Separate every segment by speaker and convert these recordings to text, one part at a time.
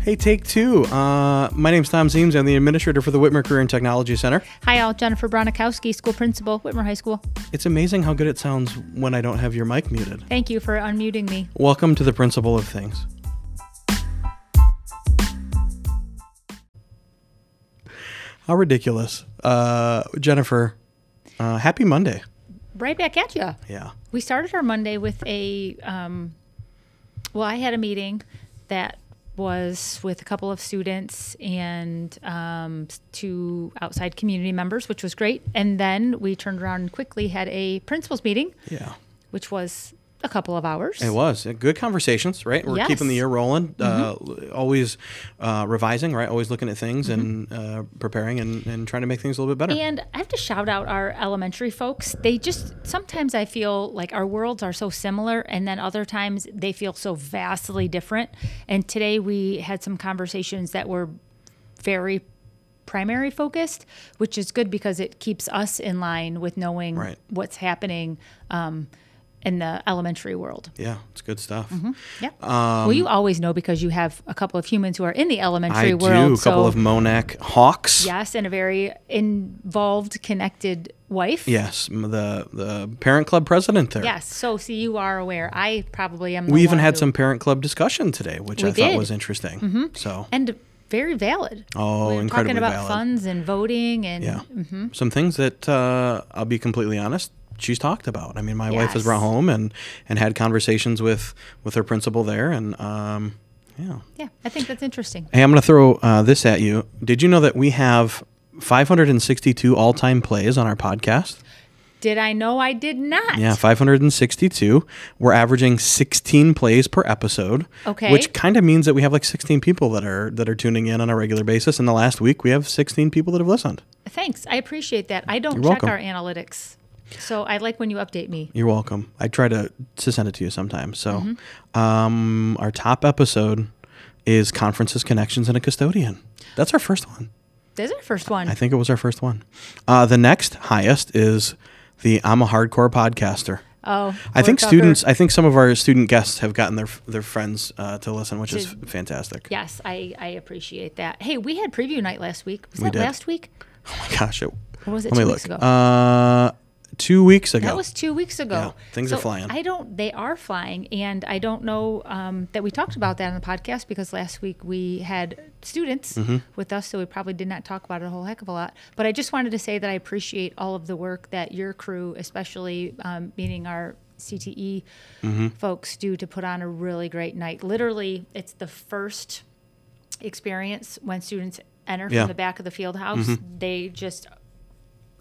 Speaker 1: Hey, take two. Uh, my name's Tom Zeems. I'm the administrator for the Whitmer Career and Technology Center.
Speaker 2: Hi, all. Jennifer Bronikowski, school principal, Whitmer High School.
Speaker 1: It's amazing how good it sounds when I don't have your mic muted.
Speaker 2: Thank you for unmuting me.
Speaker 1: Welcome to the Principle of Things. How ridiculous. Uh, Jennifer, uh, happy Monday.
Speaker 2: Right back at you.
Speaker 1: Yeah.
Speaker 2: We started our Monday with a, um, well, I had a meeting that was with a couple of students and um, two outside community members, which was great. And then we turned around and quickly had a principals meeting,
Speaker 1: Yeah.
Speaker 2: which was a couple of hours.
Speaker 1: It was Uh, good conversations, right? We're
Speaker 2: Yes. Mm-hmm.
Speaker 1: keeping the year rolling, uh, always uh, revising, right? Always looking at things and uh, preparing and, and trying to make things a little bit better.
Speaker 2: And I have to shout out our elementary folks. They just sometimes I feel like our worlds are so similar, and then other times they feel so vastly different. And today we had some conversations that were very primary focused, which is good because it keeps us in line with knowing
Speaker 1: Right.
Speaker 2: what's happening um, in the elementary world.
Speaker 1: yeah, it's good stuff.
Speaker 2: Mm-hmm. Yeah.
Speaker 1: Um,
Speaker 2: well, you always know because you have a couple of humans who are in the elementary
Speaker 1: I
Speaker 2: world.
Speaker 1: do. A couple
Speaker 2: so-
Speaker 1: of Monac hawks.
Speaker 2: Yes, and a very involved, connected wife.
Speaker 1: Yes, m- the the parent club president there.
Speaker 2: Yes. So, see, you are aware. I probably am. the
Speaker 1: We even
Speaker 2: one
Speaker 1: had
Speaker 2: who-
Speaker 1: some parent club discussion today, which
Speaker 2: We
Speaker 1: I thought
Speaker 2: did. Mm-hmm.
Speaker 1: was interesting. So,
Speaker 2: and very valid.
Speaker 1: Oh,
Speaker 2: we were
Speaker 1: incredibly
Speaker 2: talking about
Speaker 1: valid.
Speaker 2: funds and voting and mm-hmm.
Speaker 1: yeah, some things that uh, I'll be completely honest. She's talked about. I mean, my wife has
Speaker 2: Yes.
Speaker 1: brought home and and had conversations with with her principal there, and um, yeah.
Speaker 2: yeah, I think that's interesting.
Speaker 1: Hey, I'm going to throw uh, this at you. Did you know that we have 562 all time plays on our podcast?
Speaker 2: Did I know I did not?
Speaker 1: Yeah, 562. We're averaging 16 plays per episode.
Speaker 2: Okay.
Speaker 1: Which kind of means that we have like 16 people that are that are tuning in on a regular basis. In the last week, we have 16 people that have listened.
Speaker 2: Thanks. I appreciate that. I don't
Speaker 1: You're
Speaker 2: check
Speaker 1: welcome.
Speaker 2: our analytics, so I like when you update me.
Speaker 1: You're welcome. I try to, to send it to you sometimes. So, um, our top episode is conferences, connections, and a custodian. That's our first one.
Speaker 2: This is our first one.
Speaker 1: I think it was our first one. Uh, the next highest is the I'm a hardcore podcaster.
Speaker 2: oh,
Speaker 1: I think
Speaker 2: we're covered.
Speaker 1: students. I think some of our student guests have gotten their their friends uh, to listen, which is
Speaker 2: To-
Speaker 1: fantastic.
Speaker 2: Yes, I, I appreciate that. Hey, we had preview night last week. Was
Speaker 1: We
Speaker 2: that
Speaker 1: did.
Speaker 2: last week?
Speaker 1: Oh my gosh! It,
Speaker 2: Or was it
Speaker 1: let me
Speaker 2: two
Speaker 1: look.
Speaker 2: weeks ago?
Speaker 1: Uh, two weeks ago.
Speaker 2: That was two weeks ago.
Speaker 1: Yeah, things are flying.
Speaker 2: I don't. They are flying, and I don't know um, that we talked about that on the podcast because last week we had students
Speaker 1: Mm-hmm.
Speaker 2: with us, so we probably did not talk about it a whole heck of a lot. But I just wanted to say that I appreciate all of the work that your crew, especially um, meaning our CTE
Speaker 1: Mm-hmm.
Speaker 2: folks, do to put on a really great night. Literally, it's the first experience when students enter
Speaker 1: Yeah. Mm-hmm.
Speaker 2: from the back of the field house. They just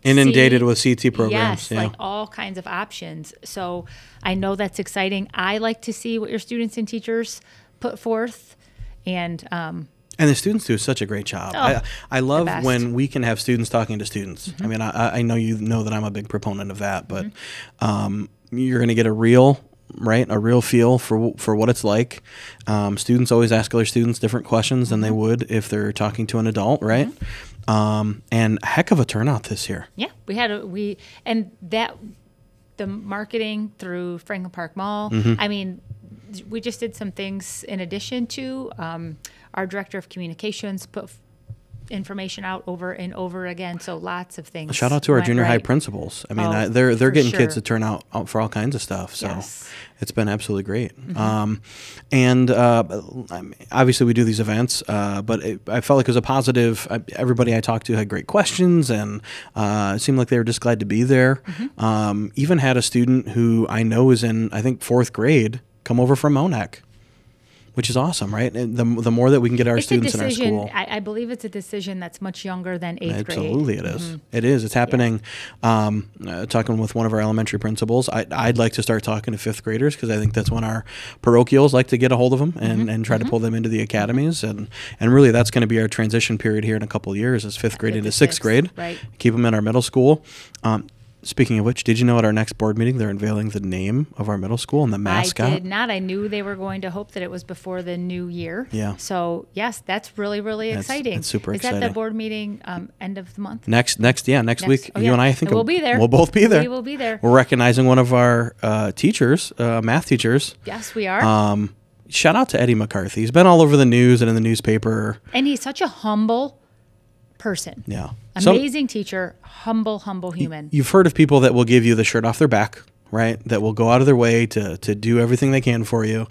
Speaker 1: Inundated
Speaker 2: C-
Speaker 1: with CT programs.
Speaker 2: Yes,
Speaker 1: yeah.
Speaker 2: like all kinds of options. So I know that's exciting. I like to see what your students and teachers put forth. And um,
Speaker 1: And the students do such a great job. I, I love
Speaker 2: best.
Speaker 1: when we can have students talking to students. I mean, I, I know you know that I'm a big proponent of that, but um, you're going to get a real right a real feel for for what it's like um, students always ask other students different questions than they would if they're talking to an adult right um, and heck of a turnout this year
Speaker 2: yeah, we had a, we, and that, the marketing through Franklin Park Mall.
Speaker 1: Mm-hmm.
Speaker 2: I mean, we just did some things in addition to um, our director of communications put f- information out over and over again. So lots of things.
Speaker 1: Shout out to our
Speaker 2: went
Speaker 1: junior high
Speaker 2: right.
Speaker 1: principals. I mean,
Speaker 2: Oh,
Speaker 1: I, they're they're
Speaker 2: for
Speaker 1: getting kids to
Speaker 2: sure.
Speaker 1: turn out out for all kinds of stuff. So
Speaker 2: Yes. Mm-hmm.
Speaker 1: it's been absolutely great. Um, and uh, I'm- obviously, we do these events, uh, but it, I felt like it was a positive. I, everybody I talked to had great questions, and uh, it seemed like they were just glad to be there.
Speaker 2: Mm-hmm.
Speaker 1: Um, even had a student who I know is in I think fourth grade come over from Monac. Which is awesome, right? And the, the more that we can get our
Speaker 2: It's a
Speaker 1: students in our
Speaker 2: decision.
Speaker 1: school,
Speaker 2: I, I believe it's a decision that's much younger than eighth grade.
Speaker 1: Absolutely, it is.
Speaker 2: Mm-hmm.
Speaker 1: It is. It's happening. Um, uh, talking with one of our elementary principals, I, I'd like to start talking to fifth graders because I think that's when our parochials like to get a hold of them
Speaker 2: Mm-hmm.
Speaker 1: and, and try to pull them into the academies. And, and really, that's going to be our transition period here in a couple of years is fifth grade
Speaker 2: fifth
Speaker 1: into
Speaker 2: to
Speaker 1: sixth
Speaker 2: sixth,
Speaker 1: grade.
Speaker 2: right.
Speaker 1: Keep them in our middle school. Um, speaking of which, did you know at our next board meeting they're unveiling the name of our middle school and the mascot?
Speaker 2: I did not. I knew they were going to hope that it was before the new year.
Speaker 1: Yeah.
Speaker 2: So yes, that's really really
Speaker 1: That's-
Speaker 2: exciting.
Speaker 1: that's super
Speaker 2: Is that
Speaker 1: exciting.
Speaker 2: the board meeting um, end of the month?
Speaker 1: Next, next, yeah, next, week,
Speaker 2: Oh,
Speaker 1: you
Speaker 2: yeah.
Speaker 1: and I, I think
Speaker 2: And we'll be there.
Speaker 1: We'll both be there.
Speaker 2: We will be there.
Speaker 1: We're recognizing one of our uh, teachers, uh, math teachers.
Speaker 2: Yes, we are.
Speaker 1: Um, shout out to Eddie McCarthy. He's been all over the news and in the newspaper.
Speaker 2: And he's such a humble person.
Speaker 1: Yeah. So-
Speaker 2: Amazing teacher, humble, humble human.
Speaker 1: you've heard of people that will give you the shirt off their back, right? That will go out of their way to to do everything they can for you.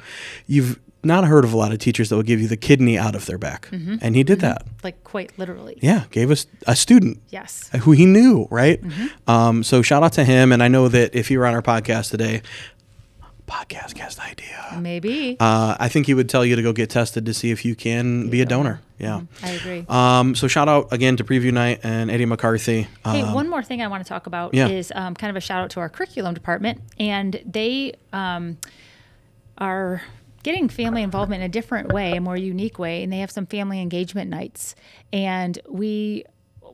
Speaker 1: You've not heard of a lot of teachers that will give you the kidney out of their back,
Speaker 2: Mm-hmm.
Speaker 1: and he did that.
Speaker 2: like quite literally.
Speaker 1: Yeah, gave us a student
Speaker 2: Yes. Mm-hmm.
Speaker 1: who he knew, right? Um, so shout out to him, and I know that if he were on our podcast today, podcast cast idea.
Speaker 2: Maybe.
Speaker 1: Uh, I think he would tell you to go get tested to see if you can be a donor. Yeah.
Speaker 2: I agree.
Speaker 1: Um, so shout out again to Preview Night and Eddie McCarthy. Uh,
Speaker 2: Hey, one more thing I want to talk about
Speaker 1: Yeah.
Speaker 2: is um, kind of a shout out to our curriculum department, and they um, are getting family involvement in a different way, a more unique way, and they have some family engagement nights. And we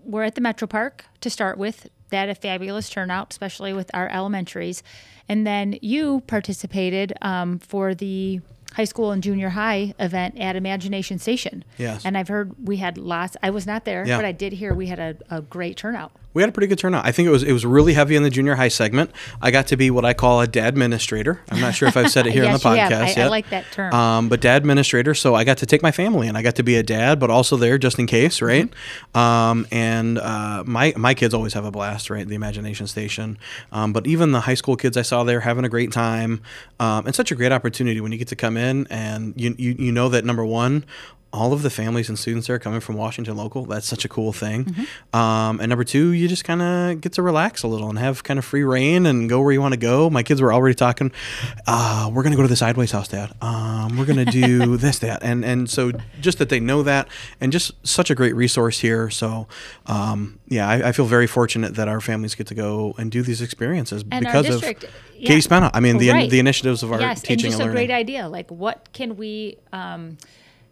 Speaker 2: were at the Metro Park to start with. They had a fabulous turnout, especially with our elementaries. And then you participated um, for the high school and junior high event at Imagination Station.
Speaker 1: Yes.
Speaker 2: And I've heard we had lots. I was not there,
Speaker 1: Yeah.
Speaker 2: but I did hear we had a, a great turnout.
Speaker 1: we had a pretty good turnout. I think it was it was really heavy in the junior high segment. I got to be what I call a dad administrator. I'm not sure if I've said it here on
Speaker 2: yes,
Speaker 1: the
Speaker 2: you
Speaker 1: podcast
Speaker 2: have. I,
Speaker 1: yet.
Speaker 2: I like that term.
Speaker 1: Um, but dad administrator, so I got to take my family and I got to be a dad, but also there just in case,
Speaker 2: Mm-hmm.
Speaker 1: right? Um, and uh, my my kids always have a blast, right? The imagination station. Um, but even the high school kids I saw there having a great time, um, and such a great opportunity when you get to come in and you you, you know that number one. All of the families and students there coming from Washington local. That's such a cool thing.
Speaker 2: Mm-hmm.
Speaker 1: Um, and number two, you just kind of get to relax a little and have kind of free reign and go where you want to go. My kids were already talking. Uh, we're gonna go to the sideways house, Dad. Um, we're gonna do this, that, and and so just that they know that, and just such a great resource here. So, um, yeah, I, I feel very fortunate that our families get to go and do these experiences
Speaker 2: And our
Speaker 1: because
Speaker 2: district,
Speaker 1: of
Speaker 2: yeah.
Speaker 1: Katie Spana. I mean, the
Speaker 2: Right.
Speaker 1: the initiatives of our
Speaker 2: yes, and
Speaker 1: teaching
Speaker 2: just
Speaker 1: and,
Speaker 2: a
Speaker 1: learning.
Speaker 2: great idea. Like, what can we um,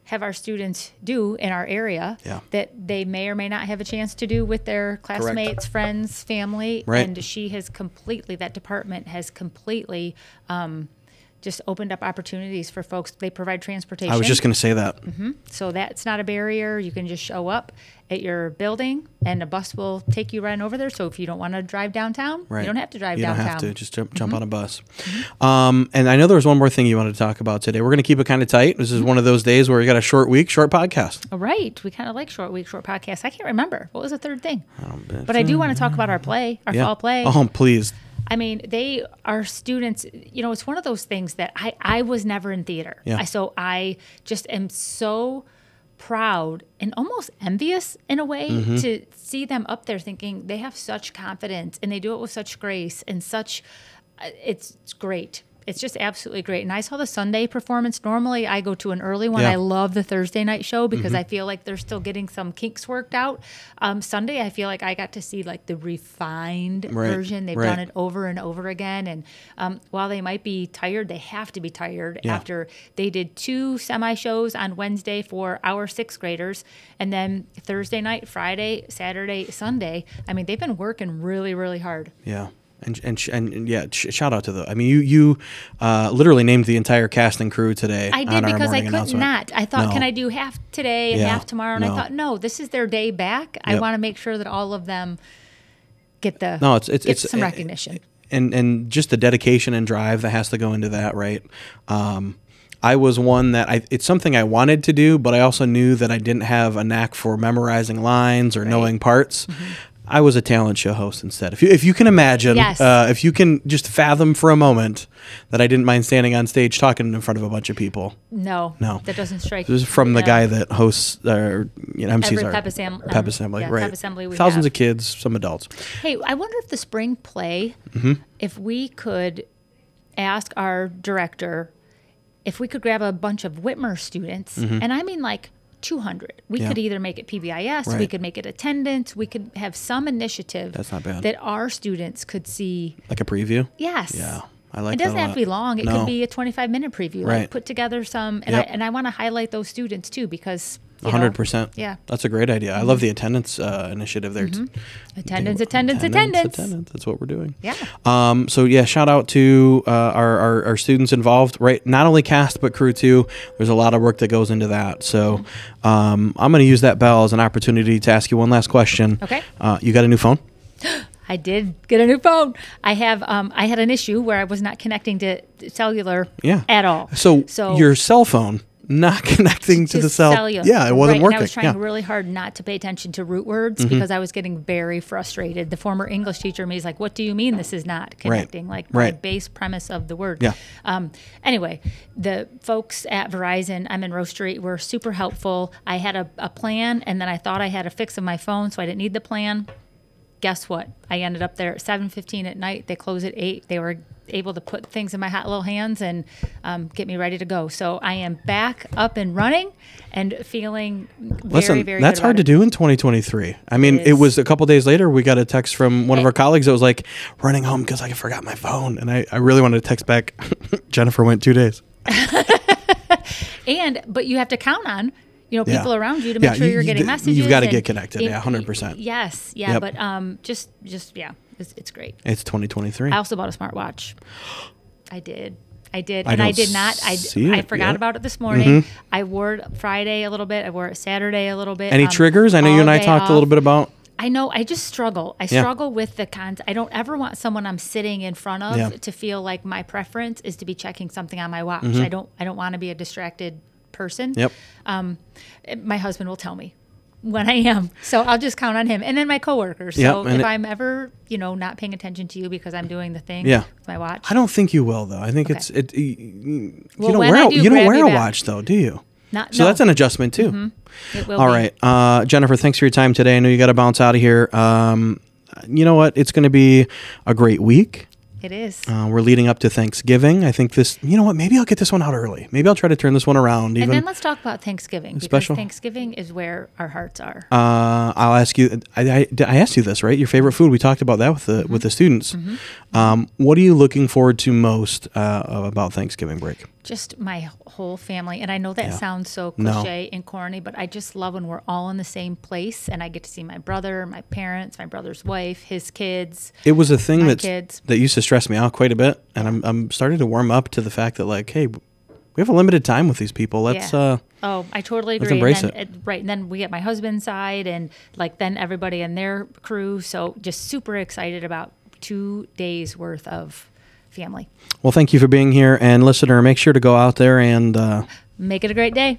Speaker 2: have our students do in our area
Speaker 1: Yeah.
Speaker 2: that they may or may not have a chance to do with their classmates, friends, family?
Speaker 1: Right.
Speaker 2: And she has completely that department has completely. Um, just opened up opportunities for folks. They provide transportation.
Speaker 1: I was just gonna say that.
Speaker 2: So that's not a barrier. You can just show up at your building and a bus will take you right over there. So if you don't want to drive downtown,
Speaker 1: Right.
Speaker 2: you don't have to drive
Speaker 1: You
Speaker 2: downtown. Mm-hmm.
Speaker 1: don't have to just jump, jump on a bus. Um, and I know there was one more thing you wanted to talk about today. We're going to keep it kind of tight. This is
Speaker 2: Mm-hmm.
Speaker 1: one of those days where we got a short week, short podcast.
Speaker 2: All right. We kind of like short week, short podcasts. I can't remember. What was the third thing? But I do want to talk about our play, our fall play.
Speaker 1: Oh, please.
Speaker 2: I mean, they are students. You know, it's one of those things that I I was never in theater.
Speaker 1: Yeah.
Speaker 2: I, so I just am so proud and almost envious in a way
Speaker 1: Mm-hmm.
Speaker 2: to see them up there thinking they have such confidence and they do it with such grace and such uh, it's, it's great. It's just absolutely great. And I saw the Sunday performance. Normally I go to an early one.
Speaker 1: Yeah. Mm-hmm.
Speaker 2: I love the Thursday night show because I feel like they're still getting some kinks worked out. Um, Sunday I feel like I got to see like the refined
Speaker 1: Right,
Speaker 2: version. They've
Speaker 1: right.
Speaker 2: done it over and over again. And um, while they might be tired, they have to be tired
Speaker 1: Yeah.
Speaker 2: after they did two semi shows on Wednesday for our sixth graders. And then Thursday night, Friday, Saturday, Sunday. I mean, they've been working really, really hard.
Speaker 1: Yeah. And, and, sh- and, and yeah, sh- shout out to the. I mean, you you uh, literally named the entire cast and crew today.
Speaker 2: I
Speaker 1: on
Speaker 2: did
Speaker 1: our
Speaker 2: because I
Speaker 1: morning
Speaker 2: could
Speaker 1: announcement.
Speaker 2: not. I thought,
Speaker 1: No.
Speaker 2: can I do half today and
Speaker 1: Yeah,
Speaker 2: half tomorrow? And
Speaker 1: no.
Speaker 2: I thought, no, this is their day back. I
Speaker 1: Yep.
Speaker 2: want to make sure that all of them get the
Speaker 1: No, it's it's
Speaker 2: get
Speaker 1: it's eh,
Speaker 2: some
Speaker 1: it-
Speaker 2: recognition.
Speaker 1: and and just the dedication and drive that has to go into that, right? Um, I was one that I it's something I wanted to do, but I also knew that I didn't have a knack for memorizing lines or knowing parts.
Speaker 2: Mm-hmm.
Speaker 1: I was a talent show host instead. If you, if you can imagine,
Speaker 2: Yes.
Speaker 1: uh, if you can just fathom for a moment that I didn't mind standing on stage talking in front of a bunch of people.
Speaker 2: no,
Speaker 1: No.
Speaker 2: that doesn't strike.
Speaker 1: This is from the
Speaker 2: no.
Speaker 1: guy that hosts, uh, you know, MCs
Speaker 2: Every
Speaker 1: our-
Speaker 2: pep assembly-
Speaker 1: pep
Speaker 2: um,
Speaker 1: assembly,
Speaker 2: yeah,
Speaker 1: right?
Speaker 2: pep assembly we
Speaker 1: Thousands
Speaker 2: have.
Speaker 1: of kids, some adults.
Speaker 2: Hey, I wonder if the spring play,
Speaker 1: Mm-hmm.
Speaker 2: if we could ask our director if we could grab a bunch of Whitmer students, and I mean like 200. We
Speaker 1: Mm-hmm. Yeah.
Speaker 2: could either make it PBIS, we
Speaker 1: Right.
Speaker 2: could make it attendance, we could have some initiative
Speaker 1: That's not bad.
Speaker 2: that our students could see.
Speaker 1: Like a preview.
Speaker 2: Yes.
Speaker 1: Yeah, I like.
Speaker 2: It
Speaker 1: that a
Speaker 2: doesn't have
Speaker 1: lot.
Speaker 2: to be long. It
Speaker 1: No.
Speaker 2: could be a 25 minute preview.
Speaker 1: Right.
Speaker 2: Like put together some, and
Speaker 1: Yep.
Speaker 2: I, and I want to highlight those students too because. you know,
Speaker 1: hundred percent.
Speaker 2: yeah. Mm-hmm.
Speaker 1: that's a great idea. I love the attendance uh, initiative there. too.
Speaker 2: Attendance, attendance, attendance.
Speaker 1: That's what we're doing.
Speaker 2: Yeah.
Speaker 1: Um. So yeah, shout out to uh, our, our our students involved. Right, not only cast but crew too. There's a lot of work that goes into that. So,
Speaker 2: Mm-hmm.
Speaker 1: um, I'm going to use that bell as an opportunity to ask you one last question.
Speaker 2: Okay.
Speaker 1: Uh, you got a new phone?
Speaker 2: I did get a new phone. I have. Um, I had an issue where I was not connecting to cellular.
Speaker 1: Yeah.
Speaker 2: At all.
Speaker 1: So, your cell phone not connecting to the cell.
Speaker 2: cellular.
Speaker 1: Yeah, it
Speaker 2: Right,
Speaker 1: wasn't
Speaker 2: and
Speaker 1: working.
Speaker 2: I was trying
Speaker 1: yeah. Mm-hmm.
Speaker 2: really hard not to pay attention to root words because I was getting very frustrated. The former English teacher me is like, "What do you mean this is not connecting?" Like my
Speaker 1: Right.
Speaker 2: base premise of the word.
Speaker 1: Yeah.
Speaker 2: Um, anyway, the folks at Verizon, I'm in Rose Street, were super helpful. I had a, a plan, and then I thought I had a fix of my phone, so I didn't need the plan. Guess what? I ended up there at 7:15 at night. They close at eight. They were able to put things in my hot little hands and um, get me ready to go. So I am back up and running and feeling very,
Speaker 1: Listen,
Speaker 2: very.
Speaker 1: that's
Speaker 2: good
Speaker 1: hard
Speaker 2: about
Speaker 1: to
Speaker 2: it.
Speaker 1: do in 2023. I mean, it
Speaker 2: It is.
Speaker 1: was a couple days later we got a text from one of
Speaker 2: Hey.
Speaker 1: our colleagues that was like, "Running home because I forgot my phone," and I, I really wanted to text back. Jennifer went two days.
Speaker 2: and but you have to count on you know
Speaker 1: Yeah.
Speaker 2: people around you to make
Speaker 1: Yeah,
Speaker 2: sure
Speaker 1: you-
Speaker 2: you're
Speaker 1: you-
Speaker 2: getting
Speaker 1: you've
Speaker 2: messages.
Speaker 1: gotta
Speaker 2: and
Speaker 1: get connected. Yeah, 100%.
Speaker 2: Yes, yeah,
Speaker 1: Yep.
Speaker 2: but um, just just yeah, it's, it's great.
Speaker 1: It's 2023.
Speaker 2: I also bought a smartwatch. Mm. I did. I did,
Speaker 1: I
Speaker 2: and I,
Speaker 1: don't
Speaker 2: did not. I,
Speaker 1: see
Speaker 2: I
Speaker 1: it Mm-hmm.
Speaker 2: forgot
Speaker 1: yet.
Speaker 2: about it this morning. I wore it Friday a little bit. I wore it Saturday a little bit.
Speaker 1: Any
Speaker 2: um,
Speaker 1: triggers? I know you
Speaker 2: all
Speaker 1: and I
Speaker 2: day
Speaker 1: talked a little
Speaker 2: off.
Speaker 1: bit about.
Speaker 2: I know. I just struggle. I struggle with the cons. I don't ever want someone I'm sitting in front of
Speaker 1: Yeah.
Speaker 2: to feel like my preference is to be checking something on my watch. I don't. I don't want to be a distracted person.
Speaker 1: Mm-hmm. Yep.
Speaker 2: Um, eh, my husband will tell me when I am, so I'll just count on him, and then my coworkers.
Speaker 1: Yep,
Speaker 2: So
Speaker 1: and
Speaker 2: if
Speaker 1: it-
Speaker 2: I'm ever, you know, not paying attention to you because I'm doing the thing
Speaker 1: Yeah.
Speaker 2: with my watch,
Speaker 1: I don't think you will though. I think it's it. You, you don't
Speaker 2: when
Speaker 1: wear
Speaker 2: I
Speaker 1: a-
Speaker 2: do,
Speaker 1: you don't
Speaker 2: grab
Speaker 1: wear
Speaker 2: me
Speaker 1: a
Speaker 2: back.
Speaker 1: watch though, do you?
Speaker 2: not
Speaker 1: So
Speaker 2: no,
Speaker 1: that's an adjustment too.
Speaker 2: it will
Speaker 1: All
Speaker 2: be.
Speaker 1: right, uh, Jennifer. Thanks for your time today. I know you got to bounce out of here. Um, you know what? It's going to be a great week.
Speaker 2: It is.
Speaker 1: Uh, we're leading up to Thanksgiving. I think this. You know what? Maybe I'll get this one out early. Maybe I'll try to turn this one around.
Speaker 2: and
Speaker 1: Even
Speaker 2: then let's talk about Thanksgiving because
Speaker 1: special?
Speaker 2: Thanksgiving is where our hearts are.
Speaker 1: uh, I'll ask you. I, I, did I asked you this right. Your favorite food. We talked about that with the
Speaker 2: Mm-hmm.
Speaker 1: with the students. Um, what are you looking forward to most uh, about Thanksgiving break?
Speaker 2: just my whole family. And I know that
Speaker 1: Yeah.
Speaker 2: sounds so
Speaker 1: No.
Speaker 2: cliche and corny, but I just love when we're all in the same place and I get to see my brother, my parents, my brother's wife, his kids.
Speaker 1: It was a thing that
Speaker 2: kids.
Speaker 1: that used to stress me out quite a bit, and I'm I'm starting to warm up to the fact that like, hey, we have a limited time with these people. Let's
Speaker 2: Yeah.
Speaker 1: uh,
Speaker 2: Oh, I totally agree.
Speaker 1: embrace
Speaker 2: and then, Right. And then we get my husband's side and like then everybody and their crew. So just super excited about two days worth of family.
Speaker 1: well, thank you for being here, and listener, make sure to go out there and. Uh,
Speaker 2: Make it a great day.